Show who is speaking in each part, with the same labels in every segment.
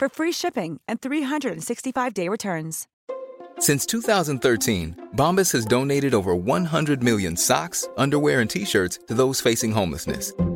Speaker 1: for free shipping and 365-day returns.
Speaker 2: Since 2013, Bombas has donated over 100 million socks, underwear, and t-shirts to those facing homelessness.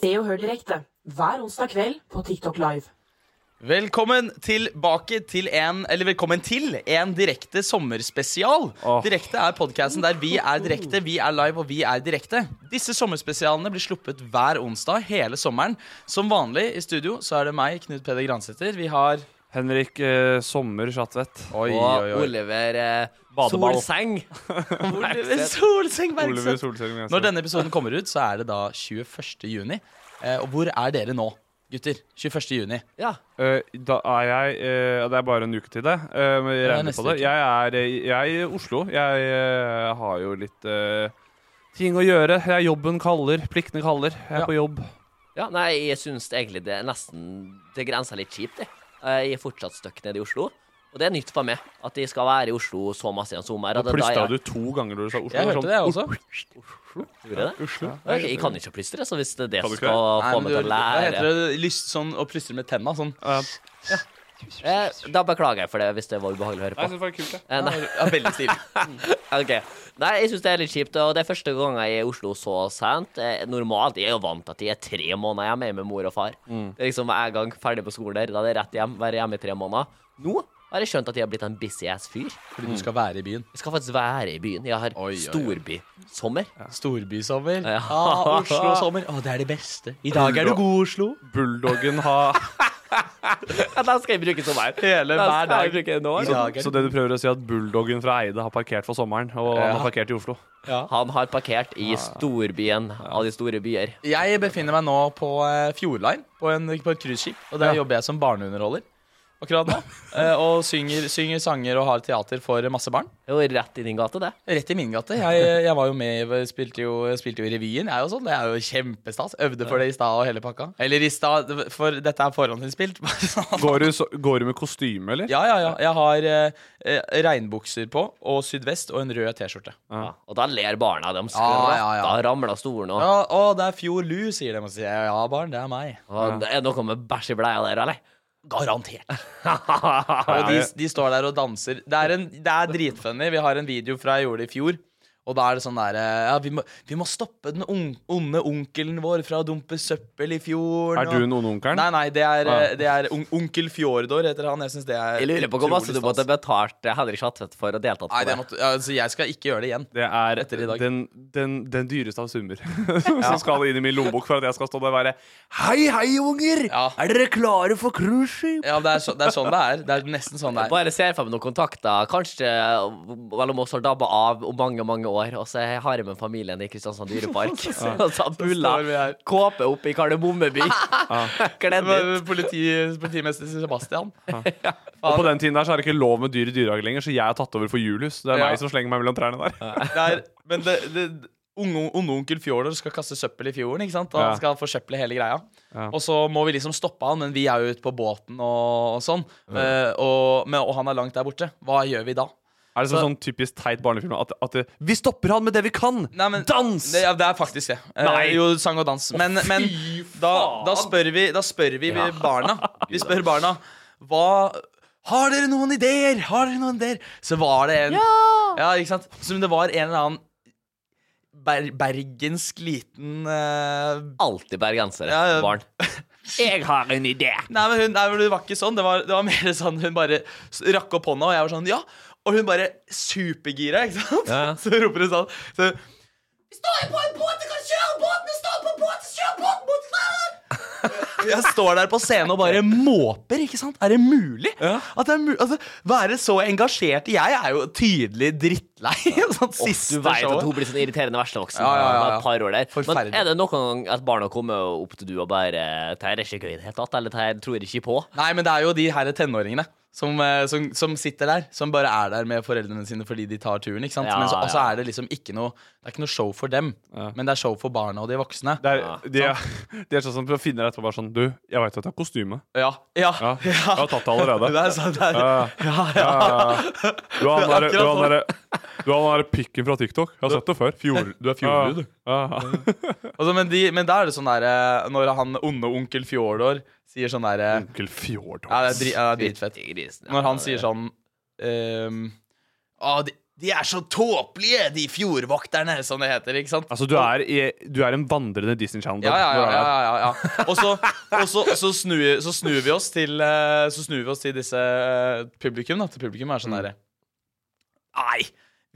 Speaker 3: Se og hør direkte hver onsdag kveld på TikTok Live.
Speaker 4: Velkommen tilbake til en Eller velkommen til en direkte sommerspesial. Direkte er podkasten der vi er direkte, vi er live og vi er direkte. Disse sommerspesialene blir sluppet hver onsdag hele sommeren. Som vanlig i studio så er det meg, Knut Peder Gransæter. Vi har
Speaker 5: Henrik eh, Sommer Schatvedt. Oi,
Speaker 6: Og Oliver eh,
Speaker 5: Badeball.
Speaker 6: Solseng.
Speaker 4: Oliver Solseng
Speaker 5: Oliver
Speaker 4: Bergseth.
Speaker 5: Solseng. altså. Jensen.
Speaker 4: Når denne episoden kommer ut, så er det da 21. juni. Eh, og hvor er dere nå, gutter? 21. juni.
Speaker 6: Ja.
Speaker 5: Eh, da er jeg eh, Det er bare en uke til det. eh, men jeg
Speaker 4: Ja,
Speaker 5: regner
Speaker 4: neste
Speaker 5: på det.
Speaker 4: uke.
Speaker 5: Jeg er, eh, jeg er i Oslo. Jeg eh, har jo litt eh, ting å gjøre. Jeg jobben kaller. Pliktene kaller. Jeg
Speaker 4: Ja.
Speaker 5: er på jobb.
Speaker 6: ja. Nei, jeg syns egentlig det er nesten Det grenser litt kjipt, jeg. Eh, Jeg er fortsatt stuck nede i Oslo. Og det er nytt for meg at jeg skal være i Oslo så masse i en sommer.
Speaker 5: Og
Speaker 6: og det er da
Speaker 5: plystra
Speaker 6: jeg-
Speaker 5: du to ganger da du sa Oslo.
Speaker 4: Jeg hørte
Speaker 5: var sånn,
Speaker 4: det, jeg også.
Speaker 6: Gjorde jeg det?
Speaker 5: Oslo.
Speaker 6: Ja, Jeg, jeg kan ikke plystre, så hvis det er det
Speaker 5: Kan du
Speaker 6: som
Speaker 5: ikke
Speaker 6: skal
Speaker 4: Nei,
Speaker 6: få
Speaker 4: men
Speaker 6: meg
Speaker 4: du-
Speaker 6: til å
Speaker 4: Hva
Speaker 6: lære
Speaker 4: heter det? Lyst sånn og plystre med tenna. Sånn.
Speaker 5: Ja.
Speaker 6: eh, Da beklager jeg for det hvis det var ubehagelig å høre
Speaker 5: Nei, jeg
Speaker 6: på.
Speaker 5: synes det var kult, det.
Speaker 6: Eh, nei.
Speaker 4: Ja, veldig stilig.
Speaker 6: Ok. Nei, jeg syns det er litt kjipt. Og det er første gang jeg er i Oslo så sent. Eh, Normalt jeg er jo vant til at jeg er tre måneder hjemme med mor og far. Det er liksom hver gang ferdig på skolen der, da er det rett hjem. Være hjemme i tre måneder. Nå har jeg skjønt at jeg har blitt en busy ass fyr. Jeg
Speaker 4: Fordi du skal være i byen.
Speaker 6: skal faktisk være i byen. Jeg har
Speaker 4: Oi, oi, oi.
Speaker 6: storbysommer.
Speaker 4: Storbysommer.
Speaker 6: Ja.
Speaker 4: Ah, Oslo-sommer. Å, det er det beste. I dag er du god, Oslo.
Speaker 5: Bulldoggen har
Speaker 6: Ja, den skal jeg bruke i sommer.
Speaker 4: Hele
Speaker 6: Den
Speaker 4: hver
Speaker 6: skal
Speaker 4: dag.
Speaker 6: jeg bruke nå.
Speaker 4: I dag er
Speaker 5: Så det du prøver å si, er at bulldoggen fra Eide har parkert for sommeren, og han har parkert i Oslo?
Speaker 6: Han har parkert i storbyen av de store byer.
Speaker 4: Jeg befinner meg nå på eh, Fjordline, på, en, på et cruiseskip. Og der jobber jeg som barneunderholder akkurat nå. Eh, og synger, synger sanger og har teater for masse barn.
Speaker 6: Det er jo rett i din gate, det.
Speaker 4: Rett i min gate. Jeg, jeg var jo med, i- spilte jo, spilte jo i revyen, jeg og sånn. Det er jo kjempestas. Øvde for det i stad og hele pakka. Eller i stad, for dette er forhåndsinnspilt. bare sånn.
Speaker 5: Går du, så, går du med kostyme, eller?
Speaker 4: Ja, ja, ja. Jeg har eh, eh, regnbukser på, og sydvest og en rød T-skjorte.
Speaker 6: Ja. Og da ler barna. De
Speaker 4: Ja,
Speaker 6: skratter,
Speaker 4: ja, ja.
Speaker 6: ramler av stolen og
Speaker 4: Ja, å, det er fjor lu, sier de. Og sier jeg, ja, barn, det er meg.
Speaker 6: Og det er noe med bæsj i bleia der, eller?
Speaker 4: Garantert.
Speaker 6: Ah,
Speaker 4: og de, de står der og danser. Det er, en, det er dritfunny. Vi har en video fra jeg gjorde det i fjor. Og da er det sånn derre ja, vi, må- vi må stoppe den on onde onkelen vår fra å dumpe søppel i fjorden.
Speaker 5: Er du
Speaker 4: og-
Speaker 5: noen onkelen?
Speaker 4: Nei, nei, det er,
Speaker 5: Ah.
Speaker 4: eh, det er on onkel Fjordor, heter han. Jeg synes det er
Speaker 6: Jeg lurer på hvor masse du
Speaker 4: utrolig
Speaker 6: måtte
Speaker 4: stas.
Speaker 6: betalt eh, Henrik Schatvedt for å delta
Speaker 4: Nei, det
Speaker 6: på det.
Speaker 4: måtte, altså, jeg skal ikke gjøre det igjen.
Speaker 5: Det er
Speaker 4: Etter i dag.
Speaker 5: den, den, den dyreste av summer som skal inn i min lommebok for at jeg skal stå der og være Hei, hei, unger!
Speaker 4: Ja.
Speaker 5: Er dere klare for cruiseskip?
Speaker 4: Ja, det er, så, det er sånn det er. Det er nesten sånn det er.
Speaker 6: Bare ser for meg noen kontakter. Kanskje eh, mellom oss har dabba av om mange mange år, og så har jeg med familien i Kristiansand dyrepark. Og så
Speaker 4: står vi her.
Speaker 6: buller kåpe opp i Kardemommeby. Kledd ut.
Speaker 4: Politi, politimester Sebastian.
Speaker 5: Og på den tiden der så er det ikke lov med dyr i dyrehagen lenger, så jeg har tatt over for Julius. Det er
Speaker 4: Ja.
Speaker 5: meg som slenger meg mellom trærne der.
Speaker 4: Det er, men det, det, Onde onde onkel Fjordor skal kaste søppel i fjorden. ikke sant? Og
Speaker 5: Ja.
Speaker 4: Han skal forsøple hele greia.
Speaker 5: Ja.
Speaker 4: Og så må vi liksom stoppe han, men vi er jo ute på båten og, og sånn. Eh, og, men, og han er langt der borte. Hva gjør vi da?
Speaker 5: Er det sånn, sånn typisk teit barnefilm at, at det- Vi stopper han med det vi kan!
Speaker 4: Nei, men,
Speaker 5: Dans!
Speaker 4: Det, ja, det er faktisk det. Eh,
Speaker 5: Nei.
Speaker 4: Jo, sang og dans. Men, men da, da spør vi, da spør vi barna. Vi spør barna hva Har dere noen ideer? Har dere noen ideer? Så var det en Ja, ikke sant? Som det var en eller annen ber bergensk liten eh,
Speaker 6: Alltid bergensere.
Speaker 4: Ja, ja.
Speaker 6: Barn. Jeg har en idé!
Speaker 4: Nei, men hun, nei, men det var ikke sånn. Det var, det var mer sånn hun bare s- rakk opp hånda, og jeg var sånn ja. Og hun bare supergira, ikke sant?
Speaker 6: Ja, ja.
Speaker 4: Så roper hun sånn. Så, jeg står der på scenen og bare måper, ikke sant? Er det mulig? At det er mu altså, være så engasjert Jeg er jo tydelig drittlei. Sånn
Speaker 6: Du
Speaker 4: siste
Speaker 6: vet at hun
Speaker 4: showet.
Speaker 6: blir sånn irriterende verslevoksen.
Speaker 4: Ja, ja, ja,
Speaker 6: med
Speaker 4: ja.
Speaker 6: et par år der. Men
Speaker 4: Forferdelig.
Speaker 6: er det noen gang at barna kommer opp til du og bare Det her er ikke gøy i det hele tatt, eller det her tror jeg ikke på?
Speaker 4: Nei, men det er jo de her tenåringene som, eh, som, som sitter der. Som bare er der med foreldrene sine fordi de tar turen. ikke sant?
Speaker 6: Ja,
Speaker 4: men så og så
Speaker 6: ja.
Speaker 4: er det liksom ikke noe Det er ikke noe show for dem, men det er show for barna og de voksne.
Speaker 5: Det er, de, er, de er sånn som finner deg etterpå bare sånn Du, jeg veit at du har kostyme.
Speaker 4: Ja. ja,
Speaker 5: Ja, jeg har tatt det allerede.
Speaker 4: Det er sant. Det er,
Speaker 5: Ja,
Speaker 4: ja,
Speaker 5: ja,
Speaker 4: ja.
Speaker 5: ja. Du har den derre-
Speaker 4: Det er
Speaker 5: du
Speaker 4: akkurat
Speaker 5: har den
Speaker 4: sånn.
Speaker 5: derre- du har den derre pikken fra TikTok. Jeg har sett det før. Fjord, du er fjordlyd, du. Ja.
Speaker 4: Altså, men, de, men da er det sånn derre Når han onde onkel Fjordor sier sånn derre
Speaker 5: Onkel altså. Fjordor.
Speaker 4: Ja, det er, dri, ja, det er dritfett.
Speaker 6: Fytti grisen, ja,
Speaker 4: Når han
Speaker 6: det-
Speaker 4: sier sånn ehm, «Å, de, de er så tåpelige, de fjordvokterne, som det heter. ikke sant?
Speaker 5: Altså, du er, i, du er en vandrende Disney Channel.
Speaker 4: Ja, ja,
Speaker 5: Hvor
Speaker 4: ja.
Speaker 5: er det?
Speaker 4: ja, ja, ja. Og så, og så, så, snur, så snur vi oss til eh, Så snur vi oss til disse eh, publikum. da Til publikum er sånn
Speaker 5: Mm.
Speaker 4: derre Nei,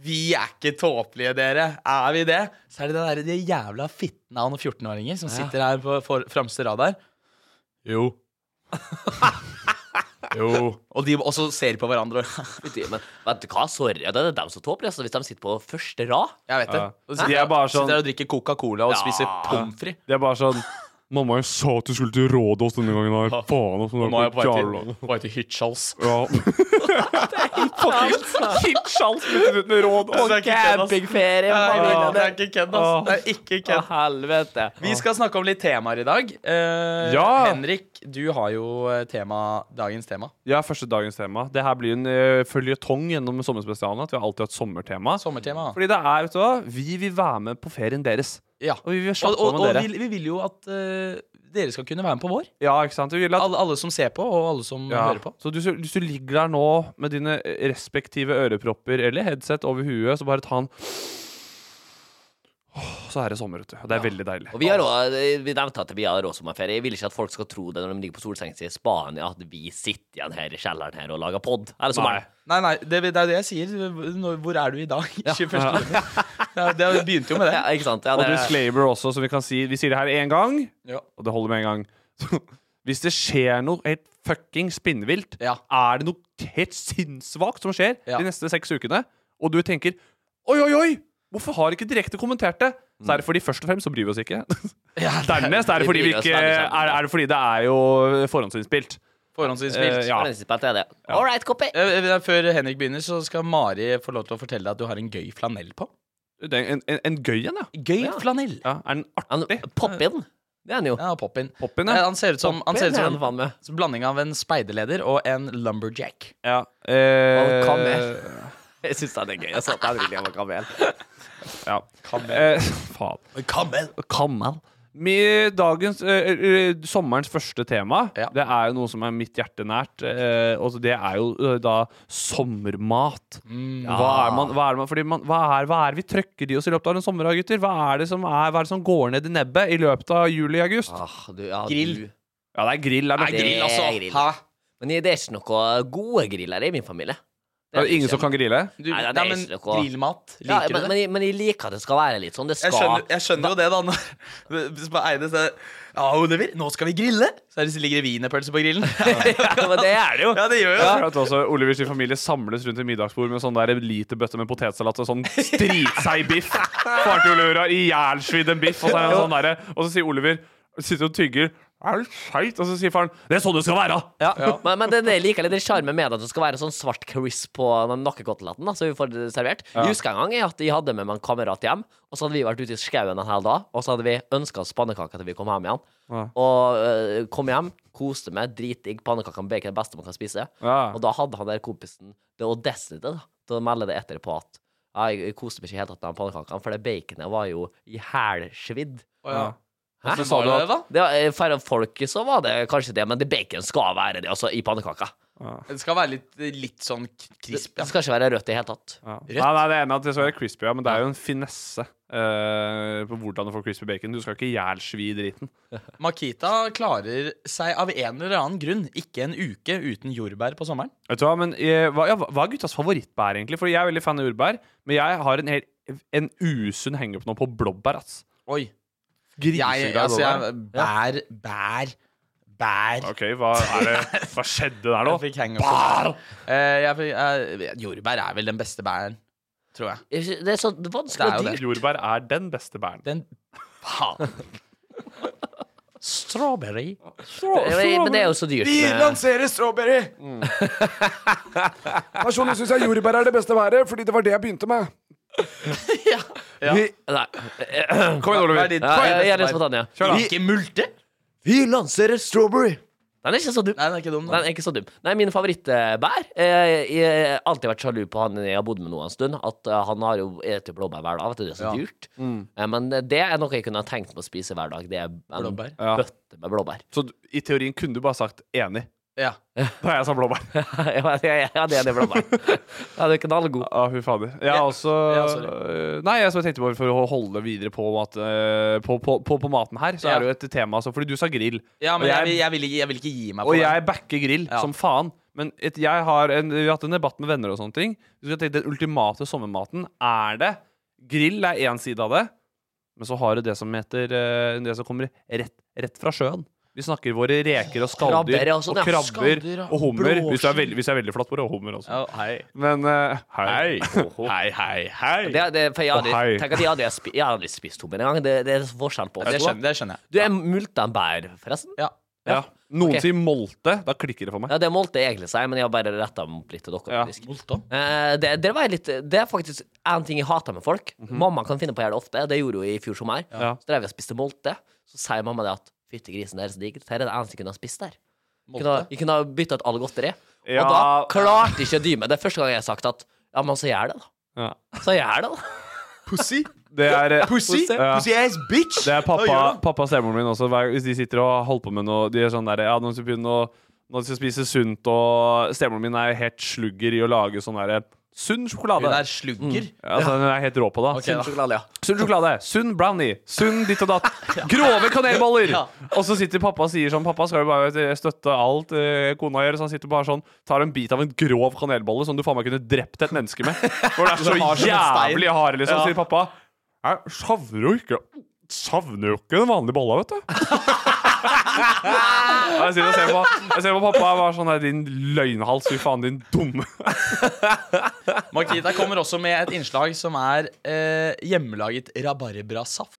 Speaker 4: vi er ikke tåpelige, dere. Er vi det? Så er det den derre de jævla fittene av noen 14-åringer som sitter her på for, fremste rad her. Jo.
Speaker 5: Jo.
Speaker 4: Og de også ser på hverandre. og-
Speaker 6: Fytti- Men vet du hva, sorry, det er dem som tåper. Altså, hvis de sitter på første rad
Speaker 4: Jeg vet det.
Speaker 5: Ja.
Speaker 4: Og så
Speaker 5: De er bare sånn-
Speaker 4: Sitter der og drikker Coca-Cola og spiser pommes frites.
Speaker 5: Det er bare sånn Mamma, jeg sa at du skulle til rådet oss denne gangen her. Faen, altså.
Speaker 4: Nå er jeg på vei til, på vei til Hitchhals.
Speaker 5: Ja. Kitschals uten råd.
Speaker 4: Altså, det er ikke kødd, ass.
Speaker 6: Campingferie!
Speaker 4: Ja,
Speaker 6: hva vil
Speaker 4: Det
Speaker 6: det?
Speaker 4: er ikke kødd, ass. Det er ikke
Speaker 6: Å,
Speaker 4: kødd.
Speaker 6: helvete.
Speaker 4: Vi skal snakke om litt temaer i dag. Eh,
Speaker 5: Ja.
Speaker 4: Henrik, du har jo eh, tema, dagens tema.
Speaker 5: Ja, første dagens tema. Det her blir en uh, føljetong gjennom sommerspesialen. At vi har alltid hatt sommertema.
Speaker 4: Sommertema.
Speaker 5: Fordi det er, vet du hva, vi vil være med på ferien deres.
Speaker 4: Ja.
Speaker 5: Og vi vil
Speaker 4: Og,
Speaker 5: snakke
Speaker 4: og,
Speaker 5: med
Speaker 4: og
Speaker 5: dere.
Speaker 4: vi, vi vil jo at eh, dere skal kunne være med på vår.
Speaker 5: Ja, ikke sant? Vi vil at
Speaker 4: Alle, alle som ser på, og alle som
Speaker 5: ja.
Speaker 4: hører på.
Speaker 5: Så du, hvis du ligger der nå med dine respektive ørepropper eller headset over huet, så bare ta en Åh, Så er det sommer, vet du. Det er veldig deilig.
Speaker 6: Og vi, har også, eh, vi nevnte at vi har råsommerferie. Jeg vil ikke at folk skal tro det når de ligger på solsengen sin i Spania, at vi sitter igjen her i kjelleren her og lager pod. Eller sommeren.
Speaker 4: Nei, nei, det, det er jo det jeg sier. Når- Hvor er du i dag? 21. juni. Ja, det begynte jo med det.
Speaker 6: Ja, ikke sant? Ja,
Speaker 5: Og
Speaker 6: det,
Speaker 5: disclaimer også, som vi kan si. Vi sier det her én gang,
Speaker 4: Ja.
Speaker 5: og det holder med én gang. Hvis det skjer noe helt fucking spinnvilt,
Speaker 4: Ja.
Speaker 5: er det noe helt sinnssvakt som skjer
Speaker 4: Ja.
Speaker 5: de neste seks ukene, og du tenker Oi, oi, oi! Hvorfor har ikke direkte kommentert det? Så er det fordi først og fremst så bryr vi oss ikke. Dernest er det
Speaker 6: vi
Speaker 5: fordi, vi
Speaker 6: bryr oss
Speaker 5: ikke,
Speaker 6: veldig
Speaker 5: er,
Speaker 6: sjelden.
Speaker 5: er det, fordi det er jo forhåndsinnspilt.
Speaker 4: Forhåndsinnspilt.
Speaker 5: Eh, ja.
Speaker 6: Prinsippet er det. All right, copy.
Speaker 4: Eh, eh, Før Henrik begynner, så skal Mari få lov til å fortelle deg at du har en gøy flanell på.
Speaker 5: Det er en, en, en gøy en, ja.
Speaker 4: Gøy flanell.
Speaker 5: ja. Er den
Speaker 6: Han,
Speaker 5: artig?
Speaker 6: Pop-in. Det er han jo.
Speaker 4: Ja, pop-in.
Speaker 5: Pop-in,
Speaker 4: Eh,
Speaker 5: ja.
Speaker 4: Han ser ut som, han
Speaker 6: Pop-in
Speaker 4: ser ut
Speaker 6: er
Speaker 4: som
Speaker 6: han faen med.
Speaker 4: en blanding av en speiderleder og en lumberjack.
Speaker 5: Ja. Eh,
Speaker 6: Hva mer? Jeg syns han er gøy. Jeg sa at han ville ha kamel.
Speaker 5: ja. Eh, faen.
Speaker 4: Kamel!
Speaker 6: Kamel?
Speaker 5: Med dagens, eh, eh, sommerens første tema,
Speaker 4: Ja.
Speaker 5: det er jo noe som er mitt hjerte nært. eh, og det er jo eh, da sommermat. Hva, er man, hva, er man, fordi man, hva, er, hva er vi trøkker i oss i løpet av en sommerdag, gutter? Hva er det som, er, hva er det som går ned i nebbet i løpet av juli-august?
Speaker 6: Ah, du, ja,
Speaker 4: Grill.
Speaker 6: Du.
Speaker 5: Ja, det er grill. Er det,
Speaker 6: Nei,
Speaker 5: det,
Speaker 6: grill.
Speaker 4: altså.
Speaker 6: Det er grill.
Speaker 4: Hæ?
Speaker 6: Men det er ikke noen gode grillere i min familie.
Speaker 5: er det ingen som kan grille?
Speaker 4: Du,
Speaker 6: Nei,
Speaker 4: nei,
Speaker 6: det er
Speaker 4: men
Speaker 6: ikke noe-
Speaker 4: grillmat, liker
Speaker 6: ja,
Speaker 4: du
Speaker 6: men,
Speaker 4: det?
Speaker 6: men, jeg- men jeg liker at det skal være litt sånn. Det skal
Speaker 4: jeg skjønner, jeg skjønner jo det, da. Når, hvis på Eide så er Ja, Oliver, nå skal vi grille! Så er det, så ligger det wienerpølse på grillen.
Speaker 6: ja, men det er det jo.
Speaker 4: ja, det gjør altså. jo
Speaker 5: Ja.
Speaker 4: det.
Speaker 5: At også Olivers familie samles rundt et middagsbord med sånn der literbøtte med potetsalat og sånn stritseig biff. Faren til Oliver har ihjelsvidd en biff, og så, er han sånn derre- og så sier Oliver sitter og tygger Er du skeit? Og så sier faren Det er sånn det skal være!
Speaker 6: Men, men det er likevel det sjarmen med det at det skal være sånn svart crisp på den nakkekoteletten. da, Så vi får det servert.
Speaker 5: Ja.
Speaker 6: Jeg husker en gang jeg at jeg hadde med meg en kamerat hjem, og så hadde vi vært ute i skauen en hel dag, og så hadde vi ønska oss pannekaker til vi kom hjem igjen.
Speaker 5: Ja.
Speaker 6: Og øh, kom hjem, koste meg, dritdigg, pannekaker med bacon er det beste man kan spise.
Speaker 5: Ja.
Speaker 6: Og da hadde han der kompisen det audacity da, til å melde det etterpå at «Ja, jeg jeg koste meg ikke helt med de pannekakene, for det baconet var jo i hælsvidd.
Speaker 4: ja.
Speaker 6: Hæ?
Speaker 4: Hvordan var det, da?
Speaker 6: Det var, eh, for folket så var det kanskje det, men det bacon skal være det, altså, i pannekaka.
Speaker 4: Det skal være litt, litt sånn k- krisp.
Speaker 6: Det
Speaker 4: Ja.
Speaker 6: skal ikke være rødt i det hele tatt.
Speaker 5: Ja.
Speaker 4: Rødt.
Speaker 5: Nei, nei, det er enig at det skal være crispy, ja, men det er jo en finesse eh, på hvordan du får crispy bacon. Du skal ikke jælsvi driten.
Speaker 4: Makita klarer seg av en eller annen grunn ikke en uke uten jordbær på sommeren.
Speaker 5: Vet du hva, men eh, hva, ja, hva er guttas favorittbær, egentlig? For jeg er veldig fan av jordbær, men jeg har en, hel, en usunn henge-up nå på blåbær, ass.
Speaker 4: Oi. Jeg,
Speaker 5: Griseglad
Speaker 4: altså,
Speaker 5: blåbær.
Speaker 4: jeg Bær, bær, bær.
Speaker 5: OK, hva, er det, hva skjedde der nå?
Speaker 4: Jeg fikk henge opp på bær. Eh, jeg, fikk- eh, jordbær er vel den beste bæren, tror jeg.
Speaker 6: Jeg sy- Det er så vanskelig
Speaker 4: Det er
Speaker 6: og
Speaker 4: jo det.
Speaker 6: dyrt.
Speaker 5: Jordbær er den beste bæren.
Speaker 4: Den Faen. Strawberry.
Speaker 6: Men men det er jo så dyrt.
Speaker 7: Vi
Speaker 6: Med,
Speaker 7: lanserer strawberry! Personlig syns jeg jordbær er det beste været, fordi det var det jeg begynte med.
Speaker 6: nei,
Speaker 5: Kom igjen, Oliver.
Speaker 6: ja, jeg jeg er litt spontan, ja.
Speaker 4: Ikke multe?
Speaker 7: Vi lanserer strawberry!
Speaker 6: Den er ikke så dum.
Speaker 4: Nei, den er ikke dum.
Speaker 6: Den
Speaker 4: Da.
Speaker 6: er ikke så dum. Nei, min favorittbær eh, Jeg har alltid vært sjalu på han jeg har bodd med nå en stund. At eh, han har jo eter blåbær hver dag. Vet du, det er så
Speaker 4: Ja.
Speaker 6: dyrt. Eh, Men det er noe jeg kunne ha tenkt meg å spise hver dag. Det er en
Speaker 4: Blåbær.
Speaker 5: Ja.
Speaker 6: bøtte med blåbær.
Speaker 5: Så du- i teorien kunne du bare sagt enig
Speaker 4: Ja.
Speaker 5: da jeg sa blåbær.
Speaker 6: ja, det er det er blåbær. Ja, det er knallgod.
Speaker 5: Ja, fy fader. Jeg har også
Speaker 4: Ja,
Speaker 5: øh, Nei, jeg som jeg tenkte på for å holde videre på, mat, øh, på, på, på, på maten her, så
Speaker 4: Ja.
Speaker 5: er det jo et tema altså, Fordi du sa grill.
Speaker 4: ja, men
Speaker 5: Og
Speaker 4: jeg,
Speaker 5: jeg-
Speaker 4: vil- jeg, vil ikke, jeg vil ikke gi meg på
Speaker 5: Og
Speaker 4: det.
Speaker 5: jeg backer grill
Speaker 4: Ja.
Speaker 5: som faen. Men et, jeg har en, vi har hatt en debatt med venner og sånne ting. Vi skal tenke, Den ultimate sommermaten, er det Grill er én side av det, men så har du det som heter øh, Det som kommer rett, rett fra sjøen. Vi snakker våre reker og skalldyr
Speaker 6: Krabber, ja,
Speaker 5: og
Speaker 6: sånn, ja.
Speaker 5: krabber
Speaker 4: Skalldyr, ja.
Speaker 5: og hummer. Hvis du er
Speaker 4: Blåskjell.
Speaker 5: veldig, hvis du er veldig flott på det, og hummer også.
Speaker 4: Ja, hei.
Speaker 5: Men øh, hei.
Speaker 6: Oho.
Speaker 5: Hei, hei, hei.
Speaker 6: Det, er- det, er- for jeg
Speaker 5: Å,
Speaker 6: hadde,
Speaker 5: hei.
Speaker 6: tenk at jeg hadde, spi, jeg hadde spist hummer en gang. Det, det er forskjell på
Speaker 4: Det
Speaker 6: oss to.
Speaker 4: skjønner, det skjønner jeg.
Speaker 6: Du er multanbær, forresten.
Speaker 4: Ja.
Speaker 5: Ja. Noen
Speaker 6: Ok.
Speaker 5: sier molte. Da klikker det for meg.
Speaker 6: Ja, det målte jeg egentlig seg, men jeg har bare retta meg opp litt til dere.
Speaker 5: Ja.
Speaker 6: faktisk.
Speaker 4: Molto.
Speaker 6: Eh, det, det, var litt, det er faktisk en ting jeg hater med folk. Mamma kan finne på å gjøre det ofte. Det gjorde hun i fjor sommer.
Speaker 5: Mhm. Ja.
Speaker 6: Så drev jeg og spiste molte. Så sier mamma det at fytti grisen, det er så digg. Dette er det eneste jeg kunne ha spist der. Jeg Kunne, ha- jeg kunne ha bytta ut alle godteri. Og da
Speaker 5: Ja.
Speaker 6: klarte ikke å dy meg. Det er første gang jeg har sagt at ja, men så gjør det, da.
Speaker 5: Ja.
Speaker 6: Så gjør det, da.
Speaker 7: Pussy.
Speaker 5: Det er eh,
Speaker 7: Pussy.
Speaker 5: Ja.
Speaker 7: Pussy ass bitch!
Speaker 5: Det er pappa,
Speaker 7: gjør det.
Speaker 5: pappa og stemoren min også. Hver, hvis de sitter og holder på med noe De er sånn der, ja, nå skal vi begynne å nå skal vi spise sunt, og stemoren min er helt slugger i å lage sånn derre sunn
Speaker 4: Hun
Speaker 5: sjokolade.
Speaker 4: er slugger.
Speaker 5: Ja, altså, hun er helt rå på det.
Speaker 4: Ok, da.
Speaker 5: Sunn sjokolade, sunn brownie, sunn ditt og datt. Grove kanelboller!
Speaker 4: Ja.
Speaker 5: Og så sitter pappa og sier sånn Pappa skal jo bare støtte alt eh, kona gjør. Så han sitter bare sånn tar en bit av en grov kanelbolle som du faen meg kunne drept et menneske med. For det
Speaker 4: Den har
Speaker 5: er så
Speaker 4: som en stein.
Speaker 5: jævlig hard, liksom.
Speaker 4: Ja.
Speaker 5: Sier pappa. Jeg savner jo ikke Savner jo ikke den vanlige bolla, vet du. Ja, jeg, sitter og ser på, jeg ser på pappa og var sånn her, Din løgnhals, fy faen, din dumme
Speaker 4: Makita kommer også med et innslag som er eh, hjemmelaget rabarbrasaft.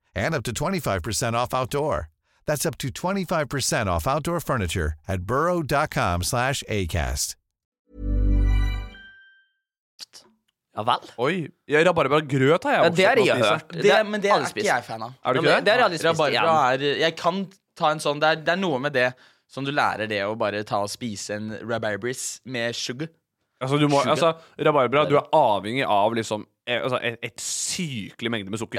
Speaker 8: and up to 25% off outdoor. That's up to 25% off outdoor furniture at burrow.com slash ACAST.
Speaker 6: Ja vel?
Speaker 5: Oi. Ja, rabarbragrøt har jeg
Speaker 6: Ja,
Speaker 5: også
Speaker 6: det har
Speaker 5: sett
Speaker 6: jeg
Speaker 5: noen spise.
Speaker 6: hørt. Det-
Speaker 4: men det
Speaker 6: alle
Speaker 4: er ikke
Speaker 6: spiser.
Speaker 4: jeg fan av.
Speaker 5: Er du
Speaker 4: Ja,
Speaker 5: ikke
Speaker 4: men
Speaker 5: det?
Speaker 4: er aldri
Speaker 5: Rabarbra
Speaker 4: spist igjen. er Jeg kan ta en sånn det er, det er noe med det som du lærer det å bare ta og spise en rabarbris med sugar.
Speaker 5: Altså, du må,
Speaker 4: Sugar.
Speaker 5: altså, rabarbra, du er avhengig av liksom eh, altså, et, et sykelig mengde med sukker.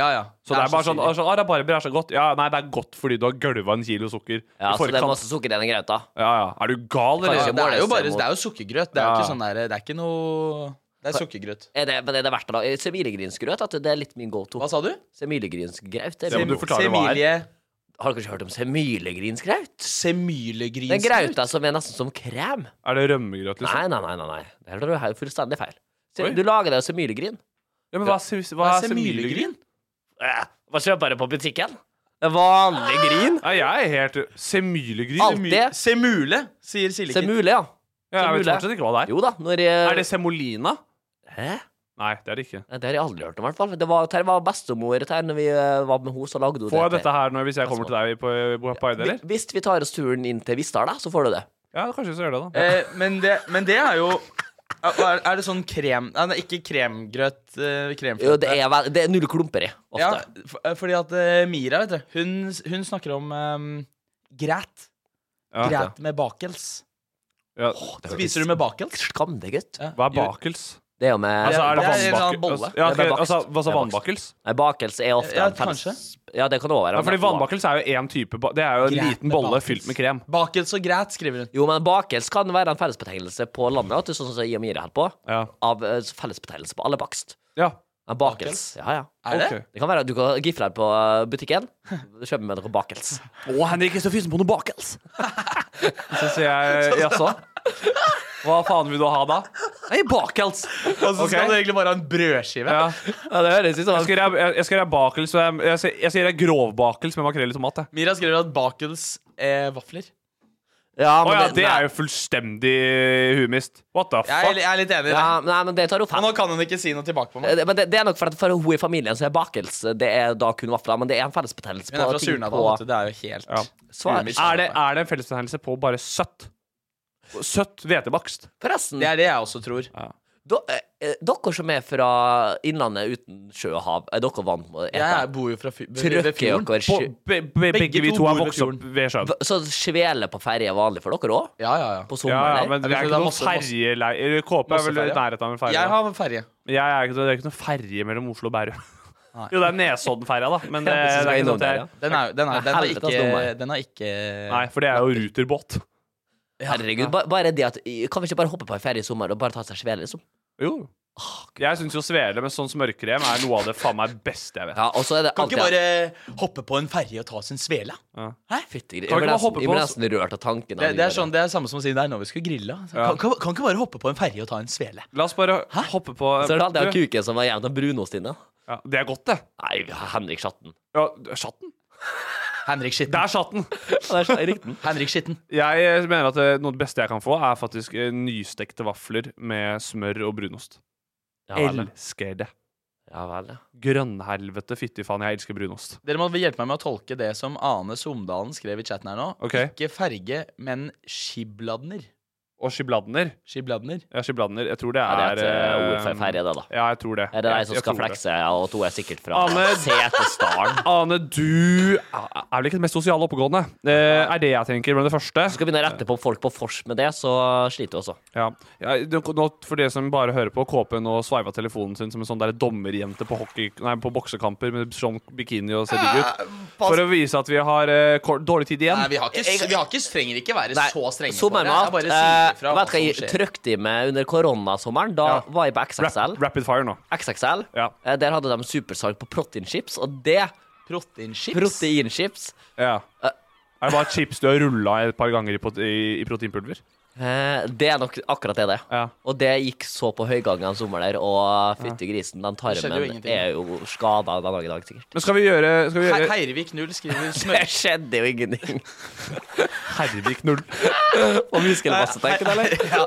Speaker 4: Det
Speaker 5: Så det
Speaker 4: er
Speaker 5: er, bare
Speaker 4: så
Speaker 5: sånn
Speaker 4: syrlig.
Speaker 5: altså, ah, Rabarbra er så godt. Ja, nei, det er godt fordi du har gølva en kilo sukker.
Speaker 6: Ja,
Speaker 5: i
Speaker 6: så det er
Speaker 5: forkant.
Speaker 6: masse sukker i den grøta.
Speaker 5: Ja, ja. Er du gal,
Speaker 6: Kan
Speaker 5: eller?
Speaker 6: ikke
Speaker 4: Det er jo bare
Speaker 6: imot.
Speaker 4: det er jo sukkergrøt. Det er jo
Speaker 5: Ja.
Speaker 4: ikke sånn der, det er ikke noe Det er sukkergrøt.
Speaker 6: Er det, men er det verdt å lage semilegrynsgrøt? At det er litt min go to. Hva
Speaker 4: sa du?
Speaker 6: Semilegrynsgraut. det er
Speaker 5: Ja, men
Speaker 6: min
Speaker 5: du
Speaker 6: go-to.
Speaker 5: forklarer hva det
Speaker 4: er.
Speaker 6: Har dere ikke hørt om semilegrynsgraut?
Speaker 4: Semilegrynsgrøt?
Speaker 6: Den grauta som er nesten som krem.
Speaker 5: Er det rømmegrøt, liksom?
Speaker 6: Nei, nei, nei. nei, nei. Det her er jo helt fullstendig feil. Se,
Speaker 5: Oi.
Speaker 6: Du lager deg semilegryn.
Speaker 5: Ja, men hva, er se- hva
Speaker 6: Hva er
Speaker 5: er semylegryn?
Speaker 6: Eh, Hva kjøper du på butikken? Det er vanlig gryn.
Speaker 5: Nei, jeg er helt Semylegryn?
Speaker 6: Alt det.
Speaker 4: Semule, sier Silje.
Speaker 6: Semule, ja.
Speaker 5: Ja, jeg vet
Speaker 6: Semule.
Speaker 5: fortsatt ikke hva det er.
Speaker 6: Jo da, når jeg...
Speaker 5: Er det semolina?
Speaker 6: Hæ?
Speaker 5: Nei, det er det ikke.
Speaker 6: Nei, Det har jeg aldri hørt om, i hvert fall. Det var, det var bestemor til her når vi eh, var med henne, så lagde hun
Speaker 5: Får jeg dette her når, hvis jeg kommer til deg på, eh, på, på Eide, eller?
Speaker 6: Vi- Hvis vi tar oss turen inn til Vistar, da, så får du det.
Speaker 5: Ja, kanskje vi skal gjøre det, da.
Speaker 4: Eh, men, det, men det er jo Er, er det sånn krem Nei, det er ikke kremgrøt. Eh, kremfløte.
Speaker 6: Jo, det, er vel, det er null klumper i, ofte.
Speaker 4: Ja, for, eh, fordi at eh, Mira, vet du, hun, hun snakker om eh, grät.
Speaker 5: Ja.
Speaker 4: grät med bakels.
Speaker 5: Ja.
Speaker 4: Spiser du med bakels?
Speaker 6: Skam deg, gutt.
Speaker 5: Hva er bakels?
Speaker 6: Det er jo med
Speaker 5: Altså, er det
Speaker 4: Det er en sånn
Speaker 5: vannbakels?
Speaker 4: bolle.
Speaker 5: Ja,
Speaker 6: Det
Speaker 5: ok,
Speaker 6: er bakst.
Speaker 5: altså, hva sa
Speaker 6: Det er bakst.
Speaker 5: vannbakels?
Speaker 6: Nei, bakelse er ofte
Speaker 4: Ja,
Speaker 6: en felles-
Speaker 4: kanskje.
Speaker 6: Ja, det kan det også være.
Speaker 5: Ja, fordi vannbakels er jo én type ba- Det er jo en
Speaker 4: Greit
Speaker 5: liten
Speaker 4: med
Speaker 5: bolle
Speaker 4: bakels.
Speaker 5: fylt med krem.
Speaker 4: Bakels og grät, skriver hun.
Speaker 6: Jo, men bakels kan være en fellesbetegnelse på landet, vet du, sånn som Iamir er her på.
Speaker 5: Ja.
Speaker 6: Av eh, fellesbetegnelse på alle bakst.
Speaker 5: Ja.
Speaker 6: Ja, bakels. Ja, ja.
Speaker 4: Er det?
Speaker 5: Ok.
Speaker 6: Det kan være at du kan gifte deg på eh, butikken. Kjøpe med noe bakels.
Speaker 5: Å, Henrik er så fysen på noe bakels! så sier jeg jaså? Hva faen vil du ha da? Nei, bakels!
Speaker 4: Og så skal
Speaker 5: Ok.
Speaker 4: du egentlig bare ha en brødskive.
Speaker 5: Ja.
Speaker 6: Ja, det høres ut
Speaker 5: Jeg skal gjøre- jeg- jeg skal gjøre bakels med- Jeg sier- jeg sier det er grovbakels med makrell i tomat. jeg.
Speaker 4: Mira skriver at bakels er vafler.
Speaker 6: Ja,
Speaker 5: Å
Speaker 6: men
Speaker 5: ja,
Speaker 6: det-
Speaker 5: det
Speaker 6: nei.
Speaker 5: er jo fullstendig humist. What the
Speaker 4: Jeg er,
Speaker 5: fuck?
Speaker 4: jeg er litt enig i det.
Speaker 6: Ja, nei, men det tar hun
Speaker 4: Og
Speaker 6: feil.
Speaker 4: nå kan hun ikke si noe tilbake på meg.
Speaker 6: Eh, Men det, det er nok for at for hun i familien så er bakels Det er da kun vafler, men det er en fellesbetegnelse
Speaker 4: Hun er
Speaker 6: på
Speaker 4: fra
Speaker 6: ting
Speaker 4: Surnadal, vet
Speaker 6: på
Speaker 4: du. Det er jo helt
Speaker 5: Ja.
Speaker 6: Svar.
Speaker 4: Umist.
Speaker 5: Er det, er det en fellesbetegnelse på bare søtt? Søtt hvetebakst.
Speaker 6: Forresten,
Speaker 4: Det er det jeg også tror.
Speaker 6: do- eh, eh, dere som er fra innlandet uten sjø og hav, er dere vant med å ete?
Speaker 4: Jeg bor jo fra fy- ved ved
Speaker 6: Trøkker
Speaker 4: fjorden.
Speaker 6: dere
Speaker 5: På,
Speaker 6: sjø-
Speaker 5: be, be, begge vi to har
Speaker 4: bor ved
Speaker 5: vokst opp ved sjøen.
Speaker 6: V- Så svele på ferje er vanlig for dere òg?
Speaker 4: Ja, ja, ja.
Speaker 6: På sommeren?
Speaker 5: Ja, ja,
Speaker 6: eller?
Speaker 5: men det
Speaker 4: Jeg
Speaker 5: er
Speaker 4: tror
Speaker 5: ikke
Speaker 4: det er
Speaker 5: noe
Speaker 4: masse- masse-
Speaker 5: ferjeleie Kåpe er vel i
Speaker 4: Mosseferje.
Speaker 5: nærheten av en ferje.
Speaker 4: Jeg har ferje.
Speaker 5: Jeg er ikke, det er ikke noe ferje mellom Oslo og Bærum. Jo, det er Nesoddenferja, da. Men det,
Speaker 6: Ja, hvis vi
Speaker 5: det
Speaker 6: skal
Speaker 5: er ikke
Speaker 6: innom
Speaker 5: sånn at
Speaker 6: der,
Speaker 5: jeg,
Speaker 4: Den er, den er, den er,
Speaker 6: Helvete,
Speaker 4: ikke,
Speaker 6: ass, dum er.
Speaker 4: den er ikke
Speaker 5: Nei, for det er jo ruterbåt.
Speaker 6: Herregud, ba- bare det at Kan vi ikke bare hoppe på en ferie i sommer og bare ta seg svele, liksom?
Speaker 5: Jo. Ah, Jeg syns jo svele med sånn smørkrem er noe av det faen meg beste jeg vet.
Speaker 6: Ja, og så er det
Speaker 4: Kan ikke
Speaker 6: alltid-
Speaker 4: bare hoppe på en ferje og ta oss en svele?
Speaker 6: Fytti gris.
Speaker 5: Kan
Speaker 6: Jeg
Speaker 5: vi
Speaker 6: ble
Speaker 5: ikke bare hoppe
Speaker 6: nesten, jeg
Speaker 5: på
Speaker 6: ble
Speaker 5: oss?
Speaker 6: nesten rørt av tanken.
Speaker 4: Det,
Speaker 6: av
Speaker 4: det
Speaker 6: bare-
Speaker 4: er sånn, det er samme som å si nei, når vi skulle grille. Så
Speaker 5: Ja.
Speaker 4: Kan, kan, kan ikke bare hoppe på en ferje og ta en svele?
Speaker 5: La oss bare hoppe på
Speaker 6: Så er det alltid han
Speaker 5: Du,
Speaker 6: kuken som var jevnt av brunost inne.
Speaker 5: ja, Det er godt, det.
Speaker 6: Nei, Henrik Schatten.
Speaker 5: Ja, Chatten?
Speaker 4: Henrik
Speaker 5: Det
Speaker 4: Skitten.
Speaker 5: er chatten!
Speaker 6: Ja, det er riktig.
Speaker 4: Henrik Skitten.
Speaker 5: Jeg eh, mener at eh, noe av det beste jeg kan få, er faktisk eh, nystekte vafler med smør og brunost.
Speaker 6: Ja vel,
Speaker 5: Elsker det.
Speaker 6: ja. Vel, ja.
Speaker 5: Grønnhelvete, fytti faen, jeg elsker brunost.
Speaker 4: Dere må hjelpe meg med å tolke det som Ane Somdalen skrev i chatten her nå.
Speaker 5: Ok.
Speaker 4: Ikke ferge, men skibladner.
Speaker 5: Og skibladner.
Speaker 4: Skibladner.
Speaker 5: Ja, skibladner. Jeg tror det
Speaker 6: Ja,
Speaker 5: er
Speaker 6: det er et eh, ord for
Speaker 5: eh,
Speaker 6: ferie, det, da.
Speaker 5: Ja, jeg tror det.
Speaker 6: Er det
Speaker 5: Jeg-
Speaker 6: de som
Speaker 5: jeg
Speaker 6: skal
Speaker 5: tror det.
Speaker 6: flekse, ja, og to er sikkert fra
Speaker 5: Anne-
Speaker 6: Setesdalen?
Speaker 5: Ane, du er vel ikke den mest sosiale oppegående? Eh, er det jeg tenker med det første.
Speaker 6: Skal begynne å rette på folk på fors med det, så sliter du også.
Speaker 5: Ja. Ja, det- nå, for de som bare hører på, KP nå sveiva telefonen sin som en sånn der dommerjente på, hockey, nei, på boksekamper med sånn bikini og ser digg ut. For å vise at vi har eh, kort, dårlig tid igjen.
Speaker 4: Nei, vi har ikke, vi har ikke, trenger ikke være så strenge på det. Jeg
Speaker 6: Sommermat.
Speaker 4: bare
Speaker 6: eh,
Speaker 4: sier fra hva
Speaker 6: vet hva jeg
Speaker 4: som skjer.
Speaker 6: trøkte i meg under koronasommeren? Da
Speaker 5: Ja.
Speaker 6: var jeg på XXL.
Speaker 5: Rap, rapid fire nå.
Speaker 6: XXL.
Speaker 5: Ja.
Speaker 6: Eh, der hadde de supersalg på proteinchips, og det
Speaker 4: Proteinchips.
Speaker 6: Proteinchips.
Speaker 5: Ja. Er det bare chips du har rulla et par ganger i, pot- i, i proteinpulver?
Speaker 6: Eh, Det er nok akkurat det det er. Og det gikk så på høygangen en sommer der, og fytti grisen, den
Speaker 4: Det skjedde jo
Speaker 6: tarmen
Speaker 4: ingenting.
Speaker 6: er jo skada den dag i dag, sikkert.
Speaker 5: Men skal vi gjøre, skal vi
Speaker 4: He-
Speaker 5: gjøre
Speaker 4: Heirvik 0 skriver
Speaker 6: Det skjedde jo ingenting.
Speaker 5: Hervik 0.
Speaker 6: Og muskelmassetenken, eller?
Speaker 4: Ja,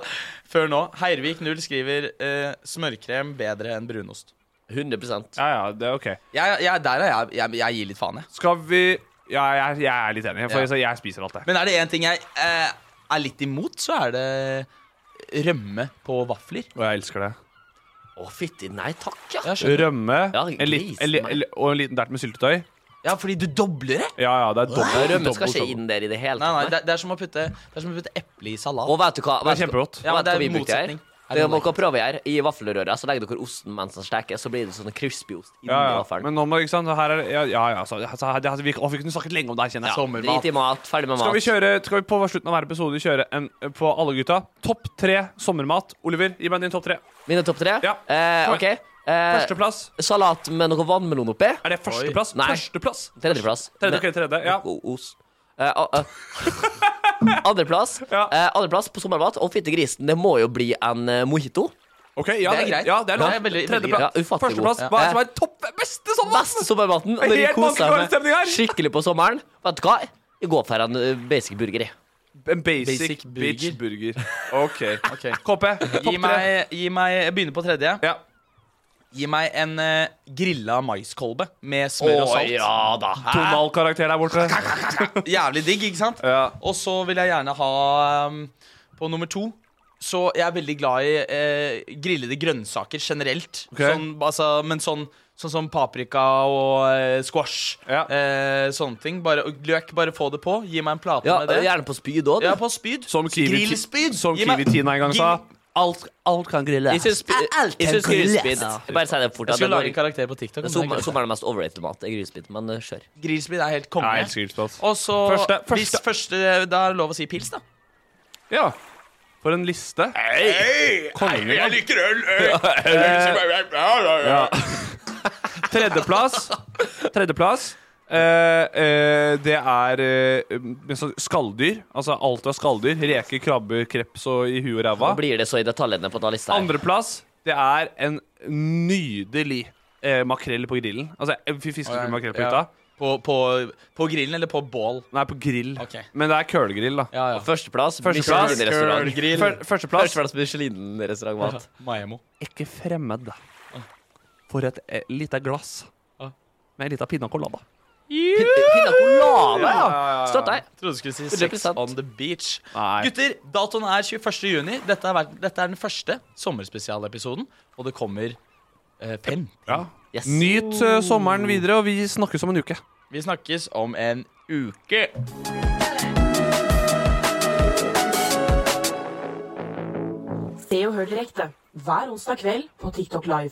Speaker 4: før nå. Heirvik 0 skriver eh, smørkrem bedre enn brunost.
Speaker 6: 100
Speaker 5: Ja, ja, det er ok.
Speaker 4: jeg, jeg, Der er jeg, jeg Jeg gir litt faen, jeg.
Speaker 5: Skal vi Ja, jeg, jeg er litt enig. For
Speaker 4: Ja.
Speaker 5: altså, jeg spiser alt, jeg.
Speaker 4: Men er det én ting jeg eh, er litt imot, så er det rømme på vafler.
Speaker 5: Og jeg elsker det.
Speaker 6: Å, fytti. Nei takk, ja.
Speaker 5: Rømme
Speaker 6: Ja,
Speaker 5: en liten- en li-
Speaker 6: grisen,
Speaker 5: en li- og en liten dert med syltetøy.
Speaker 4: Ja, fordi du dobler det.
Speaker 5: Ja, ja, det er dobbelt.
Speaker 6: Rømme
Speaker 5: dobbelt
Speaker 6: skal ikke
Speaker 5: sånn.
Speaker 6: inn der i det hele
Speaker 4: Nei, nei,
Speaker 6: tatt.
Speaker 4: det, det er som å putte Det er som å putte eple i salat.
Speaker 6: Og vet du hva?
Speaker 5: Det er
Speaker 6: vet du-
Speaker 5: kjempegodt.
Speaker 4: Ja, men
Speaker 6: vet du
Speaker 4: det er
Speaker 6: hva vi bruker her?
Speaker 4: motsetning.
Speaker 6: Det er dere prøver her, I vaffelrøret så legger dere osten mens den steker, så blir det sånn crispy ost inni
Speaker 5: Ja, ja.
Speaker 6: vaffelen.
Speaker 5: Men nå må ikke sant, her er det- Ja, ja. ja så, så, her- det, altså, vi, å, vi kunne snakket lenge om det her, kjenner jeg.
Speaker 6: Ja, Drit i mat, ferdig med mat.
Speaker 5: Skal vi kjøre Skal vi på slutten av hver episode kjøre en på alle gutta? Topp tre sommermat. Oliver, gi meg din topp tre.
Speaker 6: Mine topp tre?
Speaker 5: Ja.
Speaker 6: Eh,
Speaker 5: Kom
Speaker 6: ok.
Speaker 5: igjen.
Speaker 6: Eh,
Speaker 5: Førsteplass.
Speaker 6: Salat med noe vannmelon oppi.
Speaker 5: Er det førsteplass?
Speaker 6: Nei.
Speaker 5: Førsteplass.
Speaker 6: Tredjeplass.
Speaker 5: Tredje, ok, tredje, ja.
Speaker 6: O- Os. Eh, a- a- Andreplass eh, Andreplass på sommermat. Å, fytti grisen, det må jo bli en eh, mojito.
Speaker 5: Ok, ja,
Speaker 4: Det er greit.
Speaker 5: Ja, det er lov.
Speaker 4: Det er veldig- veldig
Speaker 5: Tredjeplass.
Speaker 6: greit. Ja, ufattelig god. Eh,
Speaker 5: Førsteplass. Hva er det som
Speaker 6: Ja.
Speaker 5: er topp beste sommermat?
Speaker 6: Beste sommermaten.
Speaker 5: Helt
Speaker 6: Og når vi koser
Speaker 5: vankelvarm
Speaker 6: meg
Speaker 5: stemning her.
Speaker 6: skikkelig på sommeren. Vet du hva? Jeg går for en eh, basic burger. jeg.
Speaker 5: En basic,
Speaker 4: Basic
Speaker 5: bitch burger. OK. KP, topp
Speaker 4: Gi
Speaker 5: tre.
Speaker 4: meg, gi meg Jeg begynner på tredje.
Speaker 5: Ja.
Speaker 4: Gi meg en eh, grilla maiskolbe med smør og
Speaker 6: Å,
Speaker 4: salt.
Speaker 6: ja da. Hæ?
Speaker 5: Donald-karakter der borte.
Speaker 4: Jævlig digg, ikke sant?
Speaker 5: Ja.
Speaker 4: Og så vil jeg gjerne ha um, På nummer to Så jeg er veldig glad i eh, grillede grønnsaker generelt.
Speaker 5: Ok.
Speaker 4: Sånn, altså, men sånn Sånn som paprika og eh, squash.
Speaker 5: Ja.
Speaker 4: Eh, sånne ting. Bare, og løk, bare få det på. Gi meg en plate
Speaker 6: Ja,
Speaker 4: med det.
Speaker 6: gjerne på spyd òg, du.
Speaker 4: Ja, på spyd.
Speaker 5: Som Kiwi,
Speaker 4: Grillspyd.
Speaker 5: som
Speaker 4: Gi meg-
Speaker 5: Kiwi Tina en gang sa. Alt, alt kan grille.
Speaker 6: Jeg syns
Speaker 4: Jeg alltid
Speaker 6: grillspyd
Speaker 4: grillspyd.
Speaker 6: Bare si det fort.
Speaker 4: Jeg
Speaker 6: Ja, det
Speaker 4: skulle lage en
Speaker 6: går-
Speaker 4: karakter på TikTok.
Speaker 6: det
Speaker 4: om
Speaker 6: er sommer-
Speaker 4: det.
Speaker 6: Sommeren er mest overrated mat. Det er Grillspyd, men eh, kjør.
Speaker 4: Grillspyd er helt konge.
Speaker 5: Jeg elsker grillspyd.
Speaker 4: Og så
Speaker 5: Første- første-
Speaker 4: Hvis første Da er det lov å si pils, da.
Speaker 5: Ja. For en liste. Kongen, ja.
Speaker 4: liker øl!
Speaker 5: Ja. Tredjeplass. Tredjeplass. Eh, eh, det er eh, men så skalldyr. Altså alt av skalldyr. Reker, krabbe, kreps og i huet og ræva.
Speaker 6: Nå blir det så i detaljene på denne lista. her.
Speaker 5: Andreplass, det er en nydelig eh, makrell på grillen. Altså eh, fiskefull makrell på
Speaker 4: Ja.
Speaker 5: hytta.
Speaker 4: På, på, på grillen eller på bål?
Speaker 5: Nei, på grill.
Speaker 4: Ok.
Speaker 5: Men det er kølegrill, da.
Speaker 4: Ja, ja.
Speaker 6: Førsteplass.
Speaker 5: Førsteplass.
Speaker 6: Michelin-restaurant.
Speaker 4: Grill.
Speaker 5: Før- Førsteplass.
Speaker 6: Førsteplass Michelin-restaurantmat.
Speaker 4: Maemo.
Speaker 5: Ikke fremmed for et eh, lite glass
Speaker 4: Ah.
Speaker 5: med ei lita pinna colada.
Speaker 6: Pina
Speaker 5: Ja,
Speaker 6: colada, ja!
Speaker 5: ja, ja, ja.
Speaker 6: Støtter jeg.
Speaker 4: Trodde du skulle si
Speaker 6: 100%.
Speaker 4: Sex on the beach.
Speaker 5: Nei.
Speaker 4: Gutter, datoen er 21. juni. Dette er, verden- dette er den første sommerspesialepisoden, og det kommer eh, fem.
Speaker 5: Ja.
Speaker 6: Yes.
Speaker 5: Nyt eh, sommeren videre, og vi snakkes om en uke.
Speaker 4: Vi snakkes om en uke.
Speaker 3: Se og hør direkte hver onsdag kveld på TikTok Live.